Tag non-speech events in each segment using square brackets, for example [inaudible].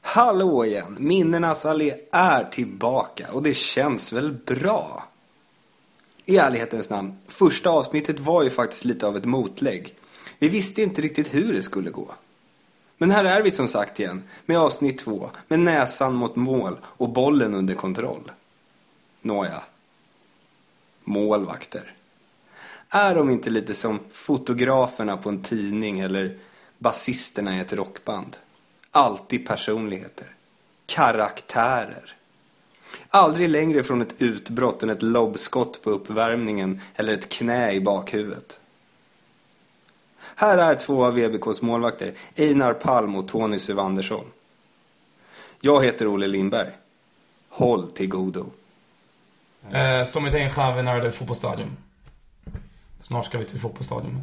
hallå igen! Minnenas allé är tillbaka och det känns väl bra? I ärlighetens namn, första avsnittet var ju faktiskt lite av ett motlägg. Vi visste inte riktigt hur det skulle gå. Men här är vi som sagt igen, med avsnitt två, med näsan mot mål och bollen under kontroll. Nåja. Målvakter. Är de inte lite som fotograferna på en tidning eller basisterna i ett rockband? Alltid personligheter. Karaktärer. Aldrig längre från ett utbrott än ett lobbskott på uppvärmningen eller ett knä i bakhuvudet. Här är två av VBKs målvakter, Einar Palm och Tony Suvandersson. Jag heter Olle Lindberg. Håll till godo. Eh, som ett enskär när det är fotbollsstadion. Snart ska vi till fotbollsstadion.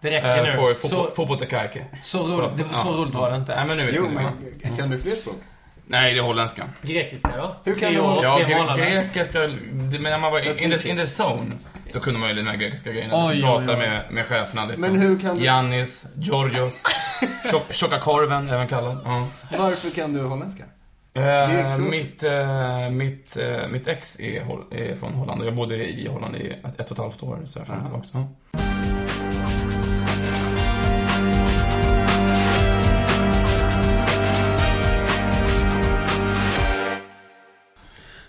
Det Eh, räcker nu. för så, fotbo- fotboll till Kaikki. så, roligt, det, så Ja. roligt var det inte. Nej men nu vet Jo, ni. men kan du fler språk? Nej, det är holländska. Grekiska då? Hur kan tre du- år och Ja, tre gre- månader. grekiska, det- men när man var in the, in the zone så kunde man ju de här grekiska grejerna. Oj, Oj, oj, prata oj. Med, med cheferna liksom. Men hur kan du- Giannis, Georgios, [laughs] tjock, Tjocka korven även kallad. Ja. Varför kan du holländska? är Eh, exotiskt. mitt, eh, mitt, eh, mitt ex är, hol- är från Holland och jag bodde i Holland i ett, ett och ett halvt år. Så jag fram och tillbaka. Ja.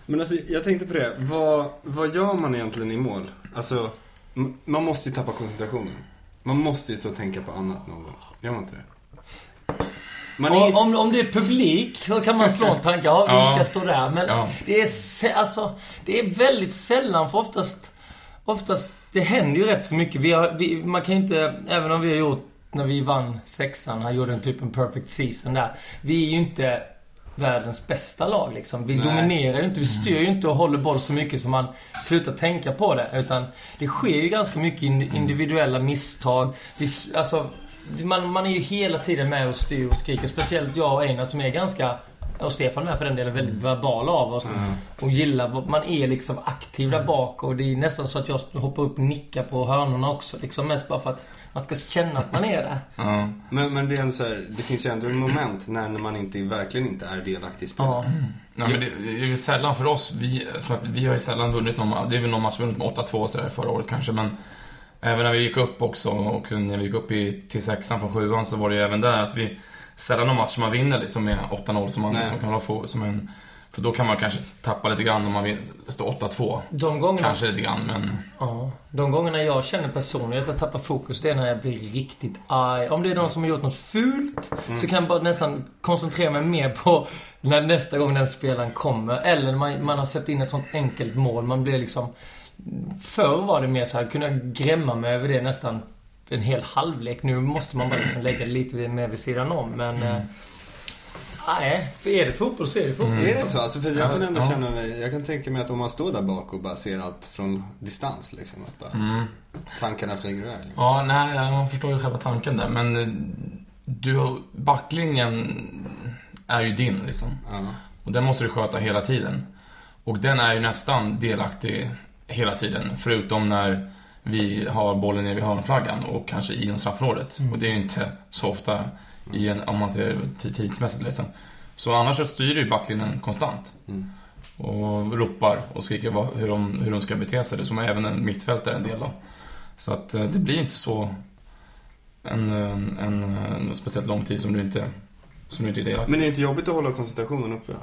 Men alltså, jag tänkte på det. Vad, vad gör man egentligen i mål? Alltså, m- man måste ju tappa koncentrationen. Man måste ju stå och tänka på annat någon gång. Gör man inte det? Man är Och, om, om det är publik så kan man slå en tanke. Ja, vi Ja. ska stå där. Men Ja. det, är, sä- alltså, det är väldigt sällan, för oftast, oftast det händer ju rätt så mycket. Vi har, vi, man kan ju inte, även om vi har gjort, när vi vann sexan, han gjorde en typ en perfect season där. Vi är ju inte världens bästa lag liksom. Vi Nej. dominerar ju inte, vi styr ju inte och håller boll så mycket som man slutar tänka på det. Utan det sker ju ganska mycket ind- individuella misstag. Vi, s- alltså, man, man är ju hela tiden med och styr och skriker. Speciellt jag och Einar som är ganska, och Stefan med för den delen, väldigt verbala av oss. Och gillar, vad- man är liksom aktiv där bak och det är nästan så att jag hoppar upp och nickar på hörnorna också. Liksom, mest bara för att man ska känna att man är där. Ja. Men, men det, är ändå så här, det finns ju ändå en moment när man inte, verkligen inte är delaktig i spelet. Ja. Nej, men det, det är ju sällan för oss. Vi, för att vi har ju sällan vunnit någon ma- Det är väl någon match vi vunnit med 8-2 sådär förra året kanske. Men även när vi gick upp också och när vi gick upp i, till sexan från sjuan så var det ju även där att vi sällan någon match man vinner liksom med 8-0 som man Nej. liksom kan ha få, som en... För då kan man kanske tappa lite grann om man vin- står 8-2. De gångerna Kanske lite grann, men... Ja, de gångerna jag känner personligen att jag tappar fokus, det är när jag blir riktigt arg. Om det är någon som har gjort något fult, Mm. så kan jag bara nästan koncentrera mig mer på när nästa gång den spelaren kommer. Eller när man, man har släppt in ett sånt enkelt mål. Man blir liksom... Förr var det mer så här, kunde jag grämma mig över det nästan en hel halvlek. Nu måste man bara liksom lägga det lite mer vid sidan om. Men... eh, Nej, för är det fotboll så är det fotboll. Är det så? Alltså, för jag Mm. Ja, kan ändå ja. känna det, jag kan tänka mig att om man står där bak och bara ser allt från distans liksom. Att bara, Mm. Tankarna flyger iväg. Liksom. Ja, nej, man förstår ju själva tanken där. Men eh, du, backlinjen är ju din liksom. Ja. Och den måste du sköta hela tiden. Och den är ju nästan delaktig hela tiden. Förutom när vi har bollen nere vid hörnflaggan och kanske inom straffområdet. Och det är ju inte så ofta i en, om man ser t- tidsmässigt liksom. Så annars så styr du ju backlinjen konstant. Mm. Och ropar och skriker vad, hur, de, hur de ska bete sig. Det är som även en mittfältare en del av. Så att eh, det blir inte så en, en, en, en speciellt lång tid som du inte, som du inte är delaktig Men det är inte jobbigt att hålla koncentrationen uppe? då?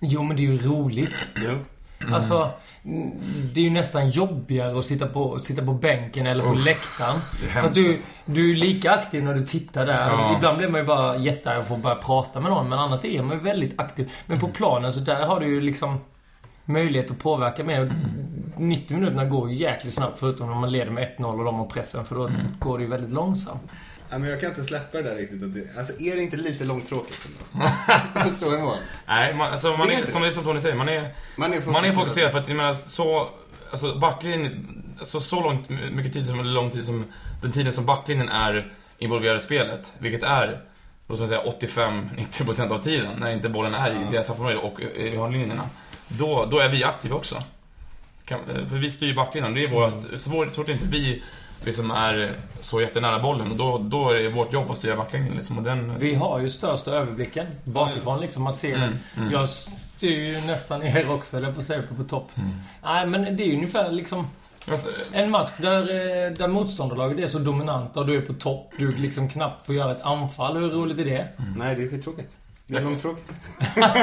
Jo, men det är ju roligt. Jo. Alltså, mm, det är ju nästan jobbigare att sitta på, sitta på bänken eller på Uff, läktaren. det är För att hemskt, du, alltså. du är lika aktiv när du tittar där. Alltså, Ja. Ibland blir man ju bara jättearg och får börja prata med någon. Men annars är man ju väldigt aktiv. Men Mm. på planen så där har du ju liksom möjlighet att påverka mer. Mm. 90 minuterna går ju jäkligt snabbt förutom när man leder med 1-0 och de har pressen. För Mm. då går det ju väldigt långsamt. Ja, men jag kan inte släppa det där riktigt. Att det, alltså är det inte lite långtråkigt ändå? [laughs] Att stå i mål. Nej, man, alltså man Det är är, det. som, det är som Tony säger, man är, Man är fokuserad. man är fokuserad för att jag menar, så, alltså backlinjen, alltså, så långt, mycket tid som, eller lång tid som, den tiden som backlinjen är involverad i spelet, vilket är, låt mig säga 85-90% av tiden, när inte bollen är i Ja. deras straffområde och i i hörnlinjerna, då, Mm. då är vi aktiva också. Kan, för vi styr ju backlinjen, det är vårt, så fort- så fort inte vi liksom är så jättenära bollen. Och då, då är det vårt jobb att styra backlinjen liksom. Och den... Vi har ju största överblicken bakifrån liksom. Man ser Mm, mm. Jag styr ju nästan er också, eller på att säga, på topp. Mm. Nej, men det är ju ungefär liksom Fast, eh, en match där, eh, där motståndarlaget är så dominanta och du är på topp. Du liksom knappt får göra ett anfall. Hur roligt är Mm. det? Nej, det är skittråkigt. Det är Jag- långtråkigt. Ja,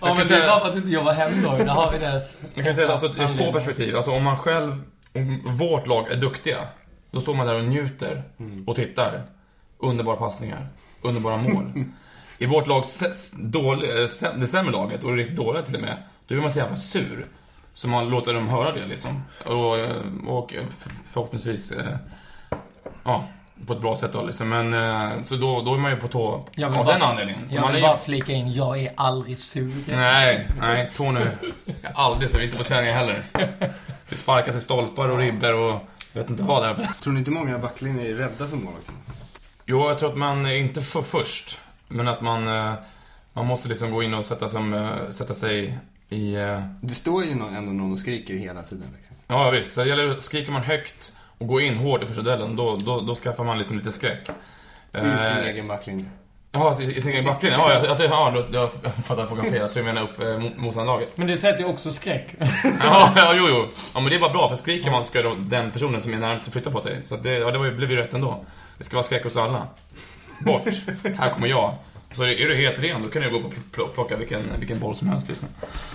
men det säga- är bara för att du inte jobbar hem då. Där har vi deras... Man kan säga alltså, ur två anledning. perspektiv. Alltså om man själv, om vårt lag är duktiga, då står man där och njuter Mm. och tittar. Underbara passningar, underbara [laughs] mål. I vårt lag, s- dålig, eh, sä- det sämre laget, och det riktigt dåliga till och med, då blir man så jävla sur. Så man låter dem höra det liksom. Och, eh, och f- förhoppningsvis, eh, ja, på ett bra sätt då liksom. Men, eh, så då, då är man ju på tå Jag av vill bara- den anledningen. Så Jag man är vill ju, bara flika in, jag är aldrig sur. nej, nej, Tony. Jag har aldrig så, inte på träningar heller. Det sparkas i stolpar och ribbor och jag vet inte vad där. Tror ni inte många backlinjer är rädda för målvakten? Jo, jag tror att man, eh, inte för först, men att man, eh, man måste liksom gå in och sätta, som, eh, sätta sig i... eh, Det står ju nå- ändå någon och skriker hela tiden. Liksom. Ja, visst. Så det gäller, skriker man högt och går in hårt i första duellen, då, då, då skaffar man liksom lite skräck. Eh, I sin egen backlinje. Ja, i, i sin egen backlinje. Ja, jag, jag, ja, då, då, jag fattar frågan fel. Jag tror jag menar upp eh, mo- motståndarlaget. Men det sätter ju [laughs] också skräck. Ja, ja, jo, jo. Ja, men det är bara bra, för skriker man så ska då den personen som är närmast flytta på sig. Så att det, ja, det var ju- blev ju rätt ändå. Det ska vara skräck hos alla. Bort! Här kommer jag. Så är är du helt ren, då kan du gå upp och pl- pl- plocka vilken, vilken boll som helst. Liksom.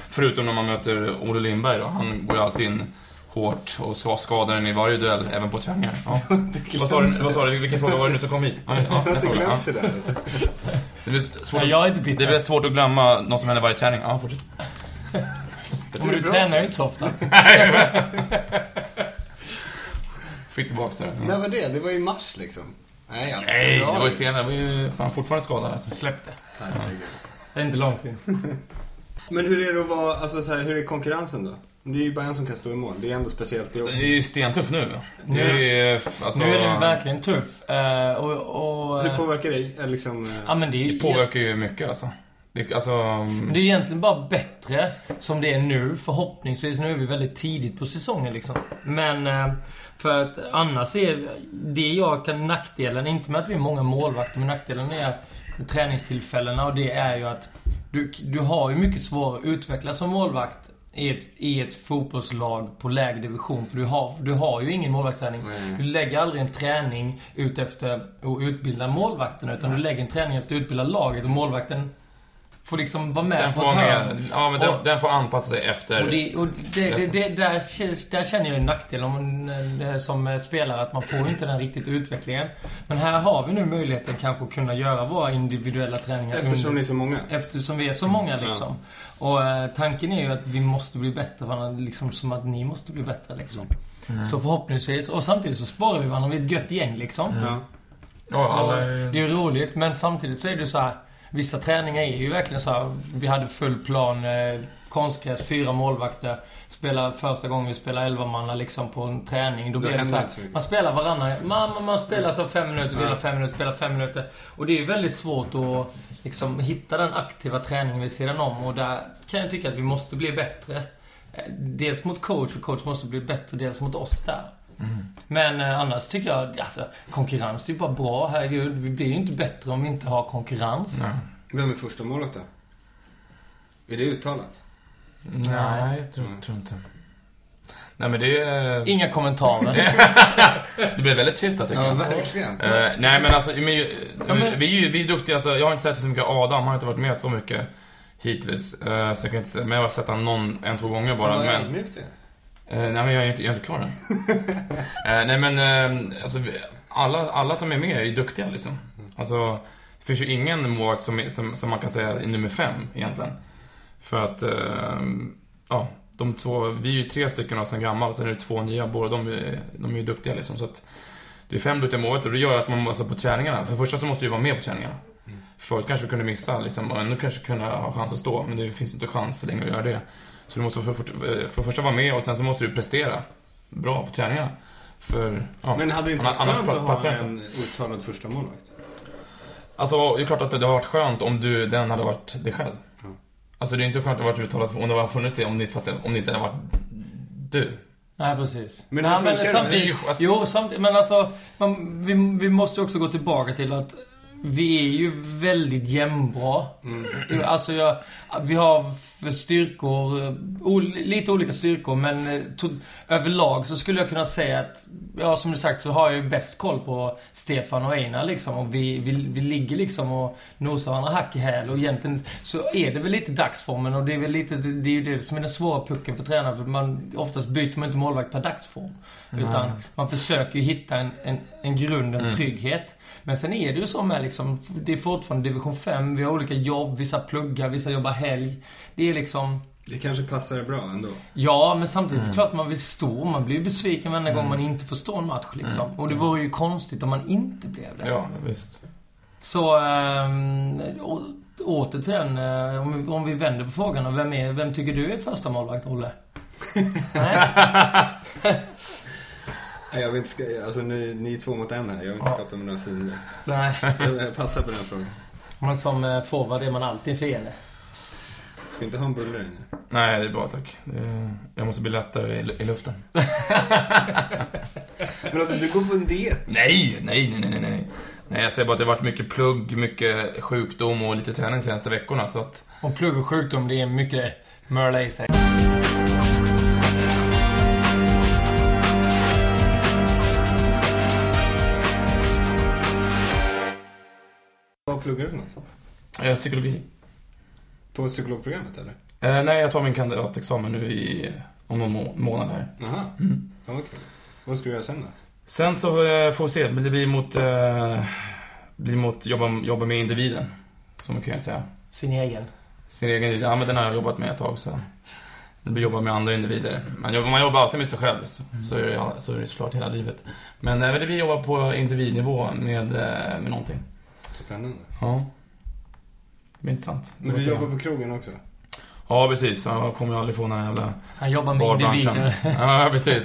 Förutom när man möter Olle Lindberg då. Han går ju alltid in hårt och ska- skadar den i varje duell, även på träningar. Ja. Vad sa du? Vad sa du? Vilken fråga var det nu som kom hit? Ja, ja, Jag har nästa inte fråga. Ja. glömt det där. Det blir svårt Nej, att, jag är inte det bitter. blir svårt att glömma något som händer varje träning. Ja, fortsätt. Men du tränar ju inte så [laughs] ofta. Fick tillbaks det. Ja. När var det? Det var i mars liksom. Nej, ja. Nej, det var ju Februari. senare. Det var ju fan fortfarande skadad alltså. Släpp det. Herregud. Det är inte långsint. Men hur är det att vara, alltså så här, hur är konkurrensen då? Det är ju bara en som kan stå i mål. Det är ändå speciellt det Det också. är ju stentuff nu. Det är ju, f- alltså, Nu är den ju verkligen tuff. eh, och, och, Hur påverkar det eh, liksom... eh, ja, men det, är, det ju- påverkar ju mycket alltså. Det, alltså men det är egentligen bara bättre som det är nu. Förhoppningsvis. Nu är vi väldigt tidigt på säsongen liksom. Men eh, för att annars är det jag kan nackdelen, inte med att vi är många målvakter, men nackdelen är med träningstillfällena och det är ju att du, du har ju mycket svårare att utvecklas som målvakt i ett, i ett fotbollslag på lägre division. För du har, du har ju ingen målvaktsträning. Nej. Du lägger aldrig en träning ut efter att utbilda målvakten. Utan du lägger en träning efter att utbilda laget. Och målvakten får liksom vara med den på får ett vara hörn. med, ja, men den, Och- den får anpassa sig efter. Och det, och det, det, det, där, känns- där känner jag en nackdel om, eh, som eh, spelare att man får ju inte den riktigt utvecklingen. Men här har vi nu möjligheten kanske att kunna göra våra individuella träningar. eh, Eftersom under- ni är så många. eftersom vi är så många liksom. Och eh, tanken är ju att vi måste bli bättre varandra, liksom som att ni måste bli bättre liksom. Så förhoppningsvis, och samtidigt så sparar vi varandra, vi är ett gött gäng liksom. Ja. ja, Och alla, Det är ju roligt men samtidigt så är det ju så här. Vissa träningar är ju verkligen så här. Vi hade full plan, eh, konstgräs, fyra målvakter. Spelar första gången vi spelar elvamanna liksom på en träning. Då blir det händer så här, inte så mycket. Man spelar varannan. Man, man spelar så fem minuter, vilar fem minuter, spelar fem minuter. Och det är ju väldigt svårt att liksom hitta den aktiva träningen vid sidan om. Och där kan jag tycka att vi måste bli bättre. Eh, Dels mot coach och coach måste bli bättre, dels mot oss där. Mm. Men eh, annars tycker jag, alltså konkurrens är ju bara bra. Herregud, vi blir ju inte bättre om vi inte har konkurrens. nej. Vem är första målet då? Är det uttalat? nej, jag tror, tror inte. Nej men det, Mm. är- Inga [laughs] kommentarer. det blev väldigt tyst där tycker jag. verkligen. Eh, nej men alltså, men, ju- Ja, men- vi är ju vi är duktiga. Alltså, jag har inte sett så mycket Adam, han har inte varit med så mycket hittills. Eh, så jag kan inte, säga- men jag har sett honom någon, en, två gånger bara. Fan, vad Men, ödmjukt det är. Eh, nej men jag är inte, jag är inte klar än. eh, nej men eh, alltså, vi- alla, alla som är med är ju duktiga liksom. Alltså, det finns ju ingen målvakt som, är- som, som man kan säga är nummer fem egentligen. För att, eh, ja, de två, vi är ju tre stycken av sen gammalt, sen är det två nya, båda de, är- de är ju duktiga liksom. Så att, det är fem duktiga målvakter och det gör att man måste på träningarna. För det första så måste du ju vara med på träningarna. Mm. Förut kanske du kunde missa liksom, och ändå kanske kunna ha chans att stå, men det finns ju inte chans så länge du gör det. Så du måste för, för, för det första vara med och sen så måste du prestera bra på träningarna. För, ja. Men hade det inte varit Annars skönt att ha platsar jag en uttalad första målvakt? Alltså, det är klart att det hade varit skönt om du, den hade varit dig själv. Ja. Alltså det är inte skönt att det varit uttalat om det hade funnits det, om det, fast, om det inte hade varit du. Nej, precis. Men Nej, hur funkar det? samtidigt, Det är ju- alltså- Jo, samtidigt, men alltså, man, vi, vi måste också gå tillbaka till att vi är ju väldigt jämnbra. Mm. Alltså, jag, vi har för styrkor, eh, ol, lite olika styrkor, men eh, to, överlag så skulle jag kunna säga att, ja som du sagt så har jag ju bäst koll på Stefan och Einar liksom. Och vi, vi, vi ligger liksom och nosar varandra hack i häl. Och egentligen så är det väl lite dagsformen och det är väl lite, det, det är ju det som är den svåra pucken för tränaren. För man, oftast byter man inte målvakt per dagsform. Utan man försöker ju hitta en, en, en grund, en trygghet. Men sen är det ju så med liksom, det är fortfarande division 5, vi har olika jobb, vissa pluggar, vissa jobbar helg. Det är liksom, Det kanske passar bra ändå. ja men samtidigt är det klart man vill stå, man blir ju besviken varje gång man inte får stå en match liksom. Och det vore ju konstigt om man inte blev det. Ja, visst. Så ehm, å- åter till den, eh, om vi, om vi vänder på frågan och vem, är, vem tycker du är första målvakt, Olle? Nej? Nej, Jag vill inte, ska- alltså ni, ni är två mot en här. Jag vill inte Ja. skapa mig några fiender. Nej. Jag jag passar på den här frågan. Man som eh, forward är man alltid fiende. Ska vi inte ha en bulle där inne? Nej, det är bra tack. Det är- Jag måste bli lättare i, i luften. Men alltså du går på en diet. Nej, nej, nej, nej, nej, nej. Nej, jag säger bara att det har varit mycket plugg, mycket sjukdom och lite träning de senaste veckorna så att... Och plugg och sjukdom, det är mycket mörla i sig. Vad pluggar du för något? Eh, psykologi. På psykologprogrammet eller? Eh, nej, jag tar min kandidatexamen nu i... Om någon må- månad här. Jaha. Mm. Fan vad kul. Vad ska du göra sen då? Sen så eh, får vi se. Men det blir mot... Eh, blir mot jobba, jobba med individen. Som man kan säga. Sin egen. Sin egen individ. Ja, men den har jag jobbat med ett tag så. Det blir jobba med andra individer. Man jobbar, man jobbar alltid med sig själv. Så, så, är, det, alla- så är det såklart hela livet. Men eh, men det blir jobba på individnivå med, eh, med någonting. Spännande. Ja. Det blir intressant. Men du jobbar på krogen också? Ja, precis. Jag kommer ju aldrig få några jävla... Han jobbar med Barbranschen. individer. [laughs] [laughs] Ja, precis.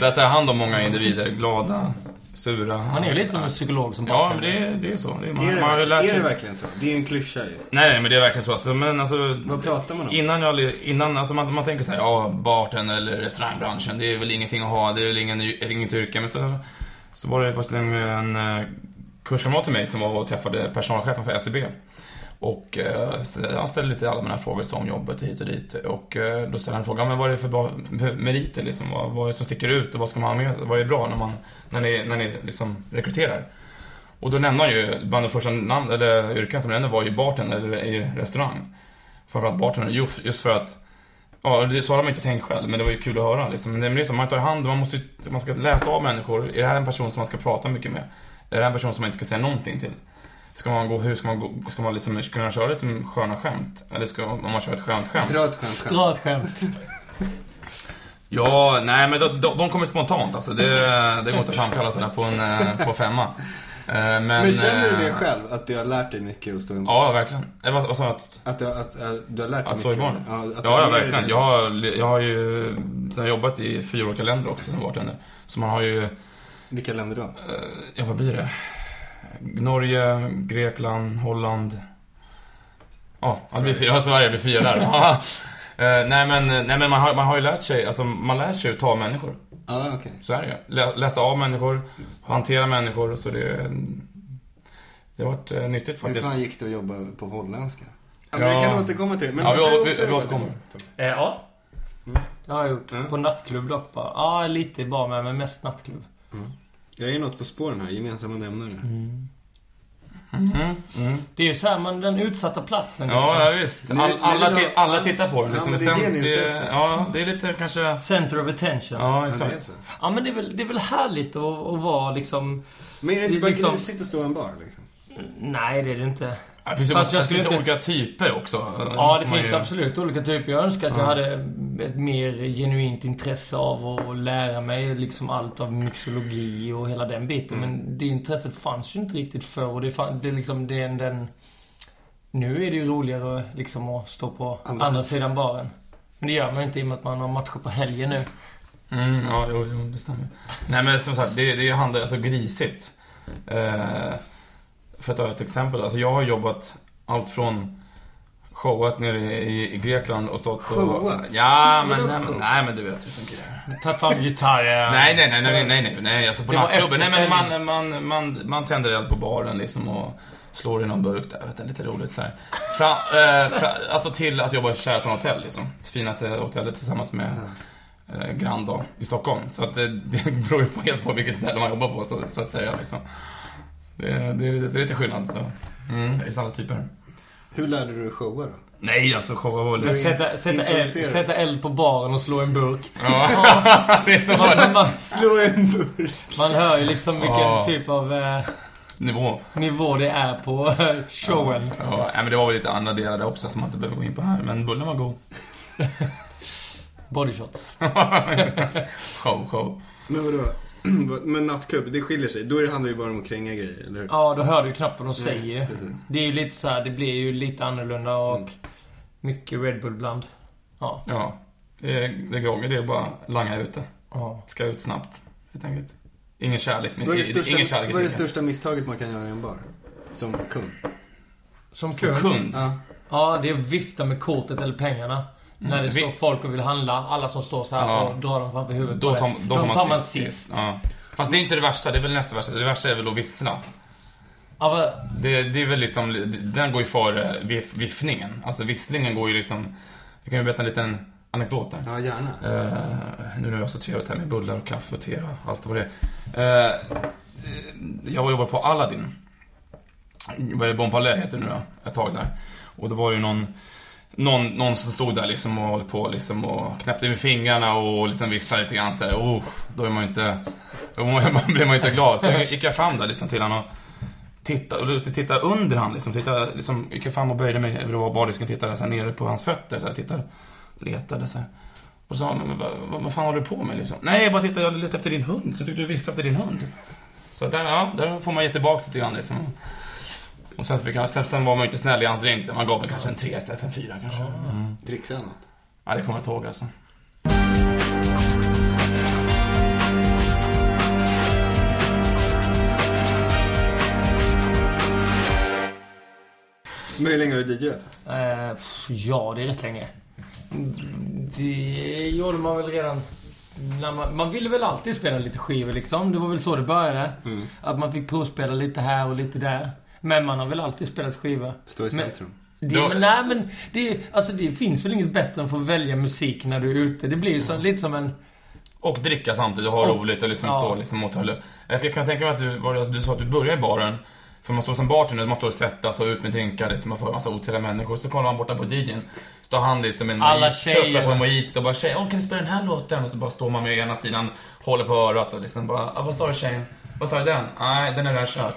Där tar jag hand om många individer. Glada, sura. Han är ju lite som en psykolog som Ja, men det, är- det är så. Det är, man, är, det, man har ju verkligen- lärt är det sig. verkligen så? Det är en klyscha ju. Nej, men det är verkligen så. Alltså, men alltså, Vad pratar man om? Innan jag, li- innan, alltså man, man tänker så här, ja, barten eller restaurangbranschen, det är väl ingenting att ha, det är väl ingen, inget yrke. Men så, så var det faktiskt en, en eh, kurskamrat till mig som var och träffade personalchefen för SEB. Och eh, så han ställde lite allmänna frågor så om jobbet och hit och dit. Och eh, då ställde han frågan, men vad är det för, bra, för meriter liksom? Vad, vad är det som sticker ut och vad ska man ha med sig? Vad är bra när, man, när ni, när ni liksom rekryterar? Och då nämnde han ju, bland de första namn, eller yrken som han nämnde var ju bartender eller i restaurang. Framförallt bartender, just, just för att Ja, det, så hade man inte tänkt själv, men det var ju kul att höra liksom. Men det är liksom, man tar hand man måste ju- man ska läsa av människor. Är det här en person som man ska prata mycket med? Är det här en person som man inte ska säga någonting till? Ska man gå, hur ska man gå, ska man liksom kunna köra lite sköna skämt? Eller ska, om man kör ett skönt skämt? Dra ett skönt skämt. Dra ett skämt. Ja, nej men de, de, de kommer spontant alltså. Det, det går inte att framkalla sådär på en, eh, på femma. Eh, Men, Men känner du det eh, själv? Att du har lärt dig mycket att stå emot? Ja, verkligen. Eh, Vad, vad sa jag? Att- Att du, att, äh, du har lärt dig Att stå i mycket? barn? Ja, att du har Ja, ja lärt dig verkligen. det. Jag har, jag har ju sen jag har jobbat i fyra olika länder också som bartender. Så man har ju, eh, Vilka länder då? ja vad blir det? Norge, Grekland, Holland. Ja, det blir fyra. Ja, Sverige blir fyra [laughs] där. Ja. Eh, nej men, nej, men man, har, man har ju lärt sig, alltså man lär sig ju ta människor. Ja, okej. Så är det ju. Lä, läsa av människor, hantera människor. Så det, det har varit eh, nyttigt Hur faktiskt. fan gick det att jobba på holländska? Ja, men vi kan Ja. återkomma till det. Ja, vi, å- vi, vi återkommer. Eh, ja. Mm. Det har jag gjort. Mm. På nattklubb dock bara. Ja, lite bara med, men mest nattklubb. Jag är något på spåren här, gemensamma nämnare. Mm, mm. Det är ju såhär, man den utsatta platsen liksom. Ja, ja visst. Ni- All, ni alla, vill ha- ti- alla tittar på den. Ja, Liksom. men det är det ni är ute efter. Ja, det är lite kanske... Center of attention. Ja, Ja, Ja, det är exakt. så. men det är, väl, det är väl härligt att, att vara liksom... Men är det inte Det är bara liksom- grisigt att stå i en bar liksom? Nej, det är det inte. Det finns, ju- Fast jag det finns skulle ju olika typer också. eh, Ja, det som man finns ju- absolut olika typer. Jag önskar att jag Ja. hade ett mer genuint intresse av att lära mig liksom allt av mixologi och hela den biten. Mm. Men det intresset fanns ju inte riktigt förr. Och det, fann, det, är liksom, det är den... Nu är det ju roligare liksom att stå på Andra andra, sidan baren. Men det gör man ju inte i och med att man har matcher på helgen nu. Mm, ja, jo, jo, det stämmer. Nej, men som sagt, det, det handlar alltså grisigt. Eh, för att ta ett exempel. Alltså, jag har jobbat allt från showat nere i, i Grekland och stått och... Showat? Ja, men, Vadå nej, men, show? nej, men du vet hur funkar det. Ta fram [laughs] gitarren. Nej, nej, nej, nej, nej, nej, nej, alltså på Det var nattklubben. Nej, men man, man, man, man tänder eld på baren liksom och slår i någon burk där. Vet du, lite roligt så här. Fra, eh, fra, alltså till att jobba i Sheraton Hotel liksom. Det finaste hotellet tillsammans med eh, Grand då, i Stockholm. Så att eh, det beror ju på helt på vilket ställe man jobbar på så, så att säga liksom. Det, det, det, det är lite skillnad så. Mm, det är samma typer. Hur lärde du dig showa då? Nej, alltså showa var Men väl... Sätta, sätta, eld, Improvisera. sätta eld på baren och slå en burk. [laughs] Ja, det är [laughs] så Man, man, Slå en burk. man hör ju liksom vilken Ja. typ av eh, Nivå. nivå det är på [laughs] eh, showen. Ja, nej, men det var väl lite andra delar där också som man inte behöver gå in på här. Men bullen var god. Bodyshots. [laughs] show, show. Men vadå? [clears throat] Men nattklubb, det skiljer sig. Då handlar det ju bara om att kränga grejer, eller hur? Ja, då hör du ju knappt vad de säger. precis. Det är ju lite så här, det blir ju lite annorlunda och Mm. mycket Red Bull bland. Ja. Ja. Det är, det är groggy, det är bara langa ut det. ja. Ska ut snabbt, helt enkelt. Ingen kärlek. men- Vad är det ingen största, kärlek i vad är det drinken. största misstaget man kan göra i en bar? Som kund? Som Som kund. kund? Ja. Ja, det är att vifta med kortet eller pengarna. När det Mm. Vi- står folk och vill handla. Alla som står så här Ja. och drar dem framför huvudet Då på tar, en. man- då tar man, sist. Ja. Fast det är inte det värsta, det är väl nästa värsta. Det värsta är väl att vissla. Ja, men- Det, det är väl liksom, den går ju före vif- viffningen. Alltså visslingen går ju liksom, jag kan ju berätta en liten anekdot där. Ja, gärna. Eh, nu när jag har så trevligt här med bullar och kaffe och te och allt vad det är. Eh, jag jobbade på Aladdin. Vad är det? Bon Palais heter det nu då. Ett tag där. Och då var det ju någon, någon, någon som stod där liksom och höll på liksom och knäppte med fingrarna och liksom visslade lite grann såhär. Oh, då är man ju inte, då blir man [laughs] ju inte glad. Så gick jag fram där liksom till honom och tittade, och då tittade jag under han liksom. Tittade, liksom. Gick jag fram och böjde mig över bardisken och tittade så här nere på hans fötter. Så här, tittade, letade så här. Och sa men vad, vad, vad fan håller du på med liksom? Nej, jag bara tittade, jag letade efter din hund. Så tyckte du visste efter din hund. Så där, ja, där får man ge tillbaka lite grann liksom. Och sen, fick han, sen, sen var man ju inte snäll i hans drink. Man gav väl kanske en tre istället för en fyra kanske. Mm. Dricksa något. Ja, det kommer jag inte ihåg alltså. Men hur länge har du DJat? eh, pff, ja, det är rätt länge. Mm, Det gjorde man väl redan... När man, man ville väl alltid spela lite skivor liksom. Det var väl så det började. Mm. Att man fick provspela lite här och lite där. Men man har väl alltid spelat skivor. Stå i Men- centrum. Det, Då- men, nej, men det, alltså, det finns väl inget bättre än att få välja musik när du är ute. Det blir ju Mm. så, lite som en... Och dricka samtidigt och ha Och- roligt och liksom ja. stå liksom och hålla. Jag kan tänka mig att du, var det, du sa att du började i baren. För man står som bartender, man står och svettas och ut med drinkar, liksom, man får massa otrevliga människor. Så kollar man borta på DJn. Står han liksom med en Alla mojito, tjejer. sörplar på en mojito och bara tjejer, åh kan du spela den här låten? Och så bara står man med ena sidan, håller på örat och liksom bara, ah, vad sa du tjejen? Vad sa du den? Nej, den är redan kört.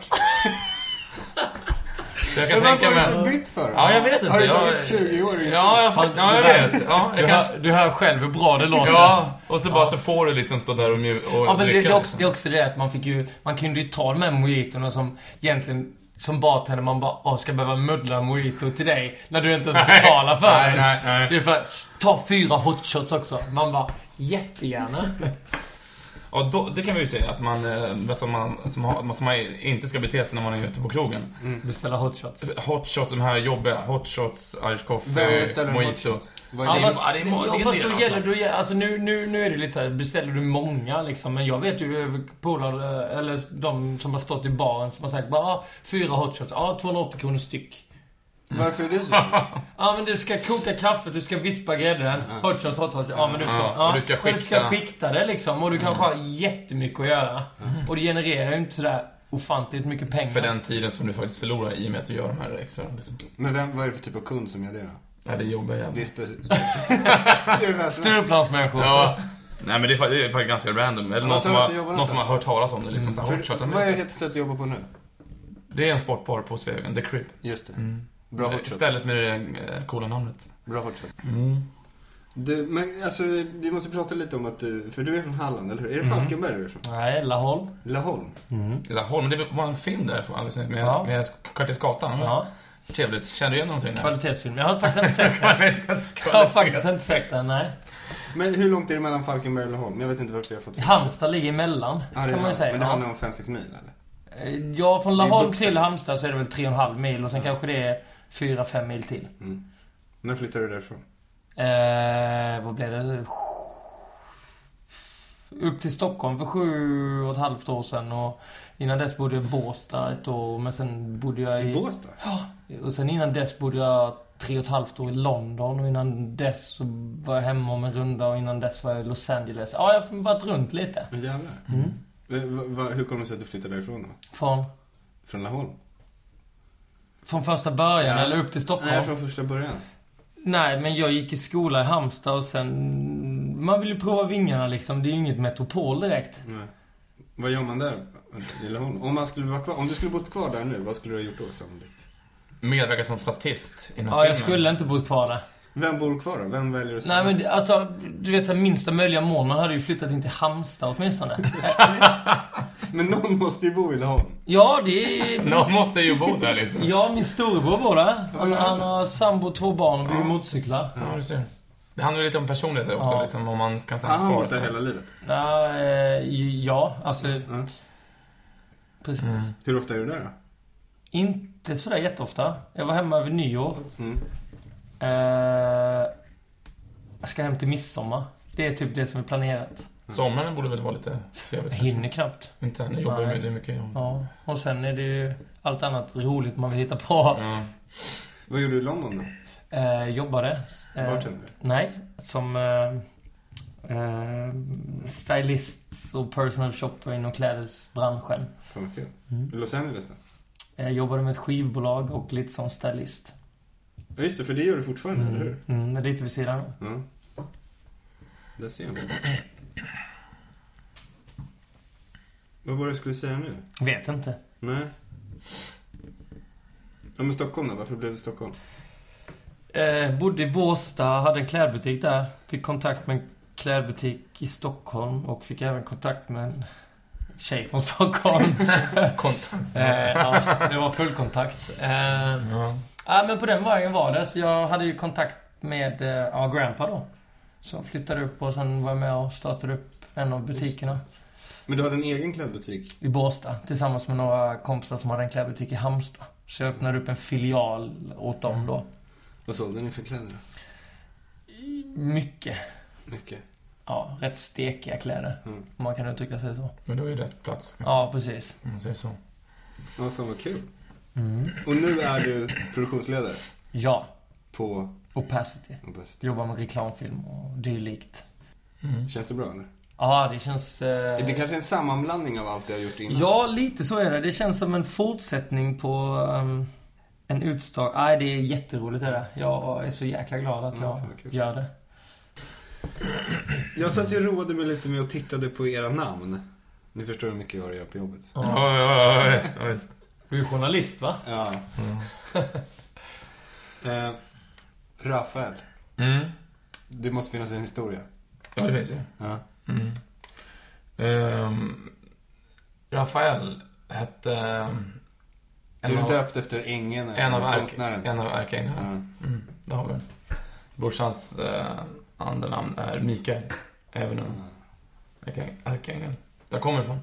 [laughs] så jag kan Men varför tänka mig... har du inte bytt för då? Ja, jag vet inte. Har det jag... tagit 20 år? Ja, jag, fa- ja, jag vet. Ja, jag Du, kanske... hör, du hör själv hur bra det låter. Ja, och så bara så får du liksom stå där och, mju- och Ja, men det, det, är också, liksom. det är också det att man fick ju... Man kunde ju ta de här mojitona som egentligen... Som bartender man bara åh, ska behöva muddla en mojito till dig när du inte ens betalar för Nej, den. nej, nej. Det är för att ta fyra hotshots också. Man bara jättegärna. Ja, då, det kan vi ju säga att man, eh, vet du, man, som, har- man, som man inte ska bete sig när man är ute på krogen. Mm. Beställa hotshots. Hot shots, de här jobbiga. Hot shots, Irish Vem coffee, beställer en hot shot? Vad Ja, är fast, det? ja, det är må- det ja, är en fast då del, gäller alltså. det alltså, nu, nu, nu är det lite så här, beställer du många liksom. Men jag vet ju eh, polare, eh, eller de som har stått i baren som har sagt bara ah, fyra hotshots, ja 280 kronor styck. Varför är det så? Ja men du ska koka kaffet, du ska vispa grädden, hotshot, hotshot, ja men du förstår. Ja, Ja, och du ska men du ska skikta. skikta det liksom och du kanske har jättemycket att göra. Och det genererar ju inte sådär ofantligt mycket pengar. För den tiden som du faktiskt förlorar i och med att du gör de här extra. Liksom. Men vem, vad är det för typ av kund som gör det då? Ja, det är jobbiga [laughs] Det är jävlar. speciellt. Det är mest- Stureplansmänniskor. Ja. Nej men det är, fa- det är faktiskt ganska random. Eller någon Vad sa som, du att har, du jobbar någon som har hört talas om det liksom. Så här, hot shots. Mm. För, vad är det heter att jobba på nu? Det är en sportbar på Sveavägen, The Crib. Just det. Mm. Bra hot shot. Stället med det eh, coola namnet. Bra hot shot. Mm. Du, men alltså vi måste prata lite om att du, för du är från Halland, eller hur? Är det Falkenberg du är från? Nej, Laholm. Laholm? Laholm, men det var en film där för alldeles nyss med, Ja. med Kvarteret Gatan. Ja. Trevligt. Känner du igen någonting där? Kvalitetsfilm. Jag har faktiskt inte sett den. Jag har faktiskt inte sett den, nej. Men hur långt är det mellan Falkenberg och Laholm? Jag vet inte varför jag har fått Halmstad ligger emellan, Ja, det kan är man ju Halland. säga. Men det handlar om 5-6 mil eller? Ja. ja, från Det är Laholm bukten. till Halmstad så är det väl 3,5 mil och sen kanske det är 4-5 mil till. Mm. När flyttade du därifrån? Eh, vad blev det? Upp till Stockholm för sju och ett halvt år sedan. Och innan dess bodde jag i Båstad ett år. Men sen bodde jag i... I Båstad? Och sen innan dess bodde jag tre och ett halvt år i London. Och innan dess så var jag hemma om en runda. Och innan dess var jag i Los Angeles. Ja, jag har varit runt lite. Men jävlar. Mm. Men va- va- Hur kom det sig att du flyttade därifrån då? Från, Från Laholm? från första början Ja. eller upp till Stockholm. Nej, från första början. Nej, men jag gick i skola i Halmstad och sen... Man vill ju prova vingarna liksom. Det är ju inget metropol direkt. Nej. Vad gör man där i Laholm? Om, man skulle vara kvar, om du skulle bott kvar där nu, vad skulle du ha gjort då sannolikt? Medverkar som statist i den här Ja, jag filmen. skulle inte bott kvar där. Vem bor kvar då? Vem väljer att Nej men det- alltså, du vet så här, minsta möjliga mån. Man hade ju flyttat in till Halmstad åtminstone. men någon måste ju bo i Laholm. ja, det är... Någon måste ju bo där liksom. Ja, min storebror bor där. Han, han har sambo, två barn och bygger motorcyklar. Ja, du ser. Det handlar lite om personlighet också, Ja. liksom, om man ska Har stanna han kvar. bott där så. hela livet? Nej, eh, ja, alltså... Ja. Precis. Hur ofta är du där Inte sådär jätteofta. Jag var hemma över nyår. då? Mm. Eh, jag ska hem till midsommar. Det är typ det som är planerat. Somrarna borde väl vara lite trevligt. Jag kanske. hinner knappt. Inte, nu jobbar ju Nej. med det är mycket. jobb. Ja. Och sen är det ju allt annat roligt man vill hitta på. Ja. Vad gjorde du i London då? Eh, jobbade. Eh, Bartender? Nej, som eh, eh, stylist och personal shopper inom klädesbranschen. Fan vad kul. Mm. I Los Angeles då? Jag jobbade med ett skivbolag och lite som stylist. Ja just det, för det gör du fortfarande, eller hur? Mm, men lite vid sidan om. Ja. Där ser man. Vad var det jag skulle säga nu? Vet inte. Nej. Ja men Stockholm då? Varför blev det Stockholm? Eh, bodde i Båstad, hade en klädbutik där. Fick kontakt med en klädbutik i Stockholm och fick även kontakt med en tjej från [laughs] Stockholm. Kontakt. eh, ja, det var fullkontakt. Eh, Ja. Ja, men på den vägen var det. Så jag hade ju kontakt med eh, ja, Grandpa då. Som flyttade upp och sen var jag med och startade upp en av butikerna Men du hade en egen klädbutik? i Båstad tillsammans med några kompisar som hade en klädbutik i Halmstad. Så jag öppnade upp en filial åt dem då. Vad sålde ni för kläder? Mycket. Mycket. Ja, rätt stekiga kläder. Mm. Om man kan uttrycka sig så. Men då är det rätt plats. Ja, precis. Om man säger så. Ja, fan vad kul. Och nu är du produktionsledare Ja, på opacity. Obest. Jobbar med reklamfilm och dylikt. Mm. Känns det bra eller? Ja, det känns... Eh... Det kanske är en sammanblandning av allt du har gjort innan? Ja, lite så är det. Det känns som en fortsättning på ehm, en utstag... Nej, det är jätteroligt det där. Jag är så jäkla glad att Ja, jag fan, vad kul. gör det. Jag satt ju och roade mig lite med och tittade på era namn. Ni förstår hur mycket jag har att göra på jobbet. Ja, ja, ja, ja, visst. Du är journalist va? Ja. [laughs] eh, Rafael. Mm. Det måste finnas en historia. Ja, det finns ju. Ja. Mm. Ehm, Rafael hette... ehm, du En är av, döpt efter ängeln, en av, ärk, konstnären. en av ärkeänglarna. Ja. Mm, det har vi. Brorsans eh, andra namn är Mikael. Även om ärke- ärkeängeln. Där kommer det ifrån.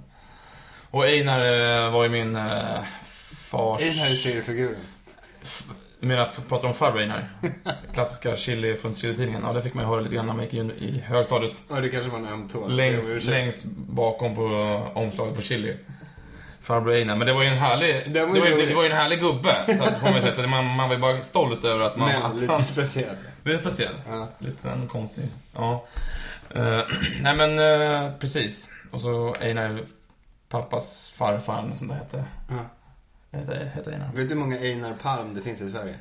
Och Einar eh, var ju min eh, fars... Den här är seriefiguren. Jag menar, f- pratar om farbror [laughs] Einar. Klassiska chili från Chili-tidningen. Ja, det fick man ju höra lite grann när man gick in i högstadiet. Ja, det kanske var en öm tå. Jag ber om Längst, ursäkt. längst bakom på eh, omslaget på Chili. Farbror Einar. Men det var ju en härlig, det Den var var ju, ju det rolig. var ju en härlig gubbe. Så att, får man, ju säga. så man, man var ju bara stolt över att man... Men att [laughs] lite speciell. lite speciell. Ja. Lite en konstig. Ja. Eh, [clears throat] nej men eh, precis. Och så Einar, pappas farfar eller sånt där hette. Ja. Hette, hette Einar. Vet du hur många Einar Palm det finns i Sverige?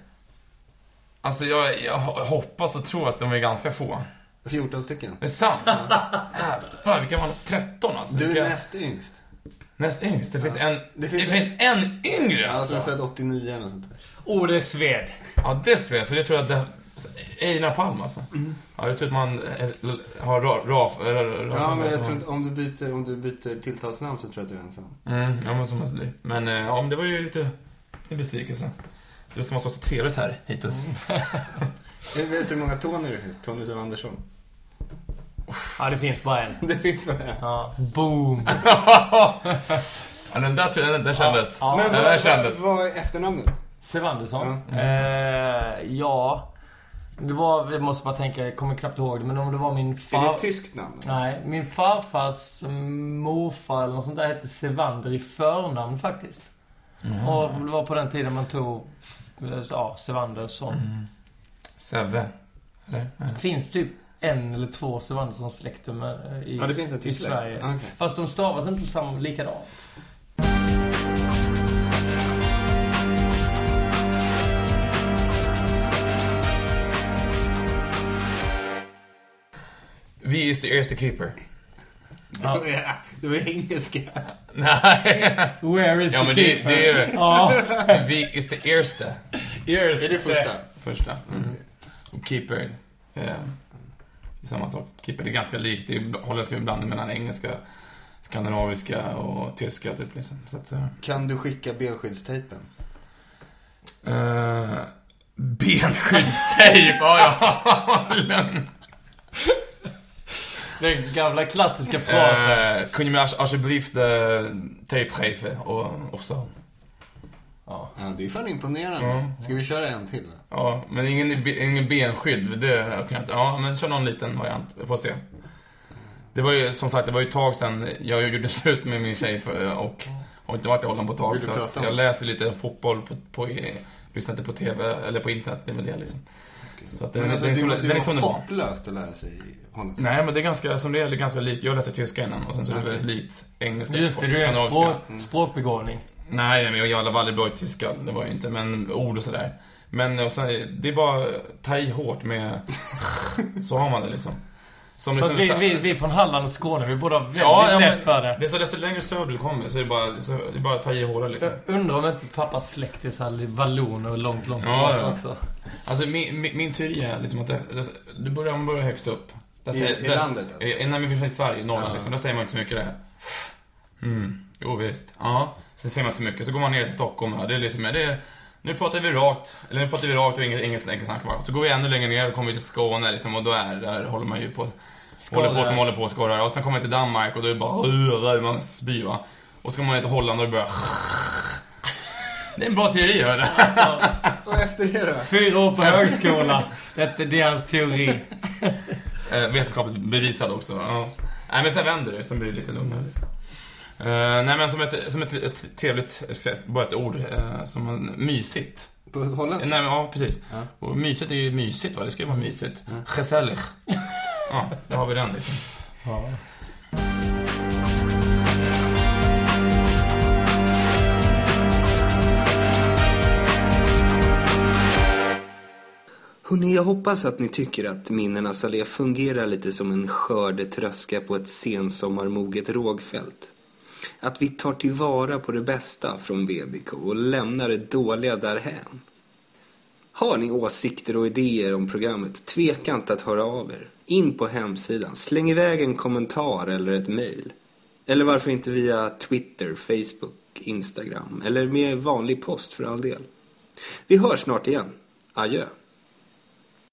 Alltså jag, jag hoppas och tror att de är ganska få. 14 stycken. Det är [laughs] sant. Jävlar, vilka var 13 alltså. Du Vilka- är näst yngst. Näst yngst? Det finns en... Det Det finns, finns- en yngre Alltså, alltså? född 89 eller något sånt där. Åh, Oh, det är sved. Ja, det ser jag. För det tror jag att det... Einar Palm alltså. Ja, jag tror att man eh, har Ra- Raf... Eller, Raf Ja, men jag som- tror inte, om du byter, om du byter tilltalsnamn så tror jag att du är ensam. Mm, ja, men så måste det bli. Men eh, ja, men det var ju lite... En besvikelse. Det som har varit så trevligt här hittills. [laughs] Jag vet hur många Tony det finns? Tony Sven Andersson. [laughs] Ja, det finns bara en. Det finns bara en. Ja. Boom. ja, den där, tror jag- den där kändes. Ja. Men Den vad, där kändes. vad, vad är efternamnet? Sev Andersson. Ja. Eh, ja. Det var, jag måste bara tänka, jag kommer knappt ihåg det, men om det typ- var min Är det far... ett tyskt namn? Nej, min farfars morfar eller något sånt där hette Sevander i förnamn faktiskt. Och det var på den tiden man tog, ja, Sevander som... Säve. Eller? Nej. finns typ en eller två Svanssons-släkter med- eh, i, Ja, det finns en till i släkt. Sverige. Ah, okej. Fast de stavas inte samma, likadant. Vi is the ears the keeper. [laughs] [laughs] Ja. Det var engelska. Nej. Where is Ja the men det, keeper? det är ju... Ja, [laughs] Vi is the ears the. yes. Är det första? Första. Mm. Och keeper. Eh, det är samma sak. Keeper det är ganska likt. Det är holländska blandning mellan engelska, skandinaviska och tyska typ liksom. Så att, eh, Kan du skicka benskyddstejpen? Uh, benskyddstejp, ja ja. Lugn. Den gamla klassiska frasen. Eh, Kunde man alsjeblieft eh, tape geven? Och, och så. Ja. Ja, det är fan imponerande. Ska vi köra en till? då? Ja, men ingen, ingen benskydd. Det har jag kunnat. Ja, men kör någon liten variant. Jag får se. Det var ju som sagt, det var ju ett tag sedan jag gjorde [laughs] slut med min tjej för, och har inte varit i Holland på ett tag. Vill du Så att prata om? jag läser lite fotboll på, på, lyssnar inte på TV eller på internet. Det är väl det liksom. Så att det, Men alltså, det, är inte det som- måste det ju är liksom inte som det vara var. hopplöst att lära sig holländska. Nej, men det är ganska, som det är, det är ganska likt. Jag läste tyska innan och sen så är det väldigt likt engelska. Just det, du är en skandinaviska. språk, Mm. språkbegåvning. Nej, men jag jag var aldrig bra i tyska. Det var jag inte. Men ord och sådär. Men och sen, det är bara ta i hårt [laughs] med... så har man det liksom. Som Så liksom- vi, vi, vi från Halland och Skåne, vi borde ha väldigt Ja, ja, lätt men, för det. det är så desto längre söderut du kommer så är det bara, så, det är bara att ta i hårdare liksom. Jag undrar om inte pappas släkt är såhär valloner och långt, långt Ja, tillbaka ja. också. Alltså min, min, min teori är liksom att det, det, du börjar, man börjar högst upp. Där I- i landet, alltså? I, nej men i Sverige, i Norrland Ja. liksom. Där säger man inte så mycket det. Mm, jo visst. Ja. Sen säger man inte så mycket. Så går man ner till Stockholm här. Det är liksom, ja, det är, nu pratar vi rakt. Eller nu pratar vi rakt och inget, inget snack snack bara. Så går vi ännu längre ner och kommer vi till Skåne liksom. Och då är där håller man ju på. Håller på som håller på och skorrar. Och sen kommer man till Danmark och då är det bara man spyr va. Och så kommer man ner till Holland och det börjar [laughs] Det är en bra teori hörru. Och efter det då? Fyra [laughs] år på högskola. Detta, det är hans teori. Eh, vetenskapligt bevisad också. Ja. Nej men sen vänder det, sen blir det lite lugnare. Liksom. Eh, nej men som ett, som ett, ett trevligt, jag ska säga, bara ett ord, eh, som man, mysigt. På holländska? Nej men ja, precis. Ja. Och mysigt är ju mysigt va, det ska ju vara mysigt. Gesellig. ja, där har vi den liksom. Ja. Hörrni, jag hoppas att ni tycker att Minnenas allé fungerar lite som en skördetröska på ett sensommarmoget rågfält. Att vi tar tillvara på det bästa från BBK och lämnar det dåliga därhän. Har ni åsikter och idéer om programmet, tveka inte att höra av er. In på hemsidan, släng iväg en kommentar eller ett mejl. Eller varför inte via Twitter, Facebook, Instagram eller med vanlig post för all del. Vi hörs snart igen. Adjö.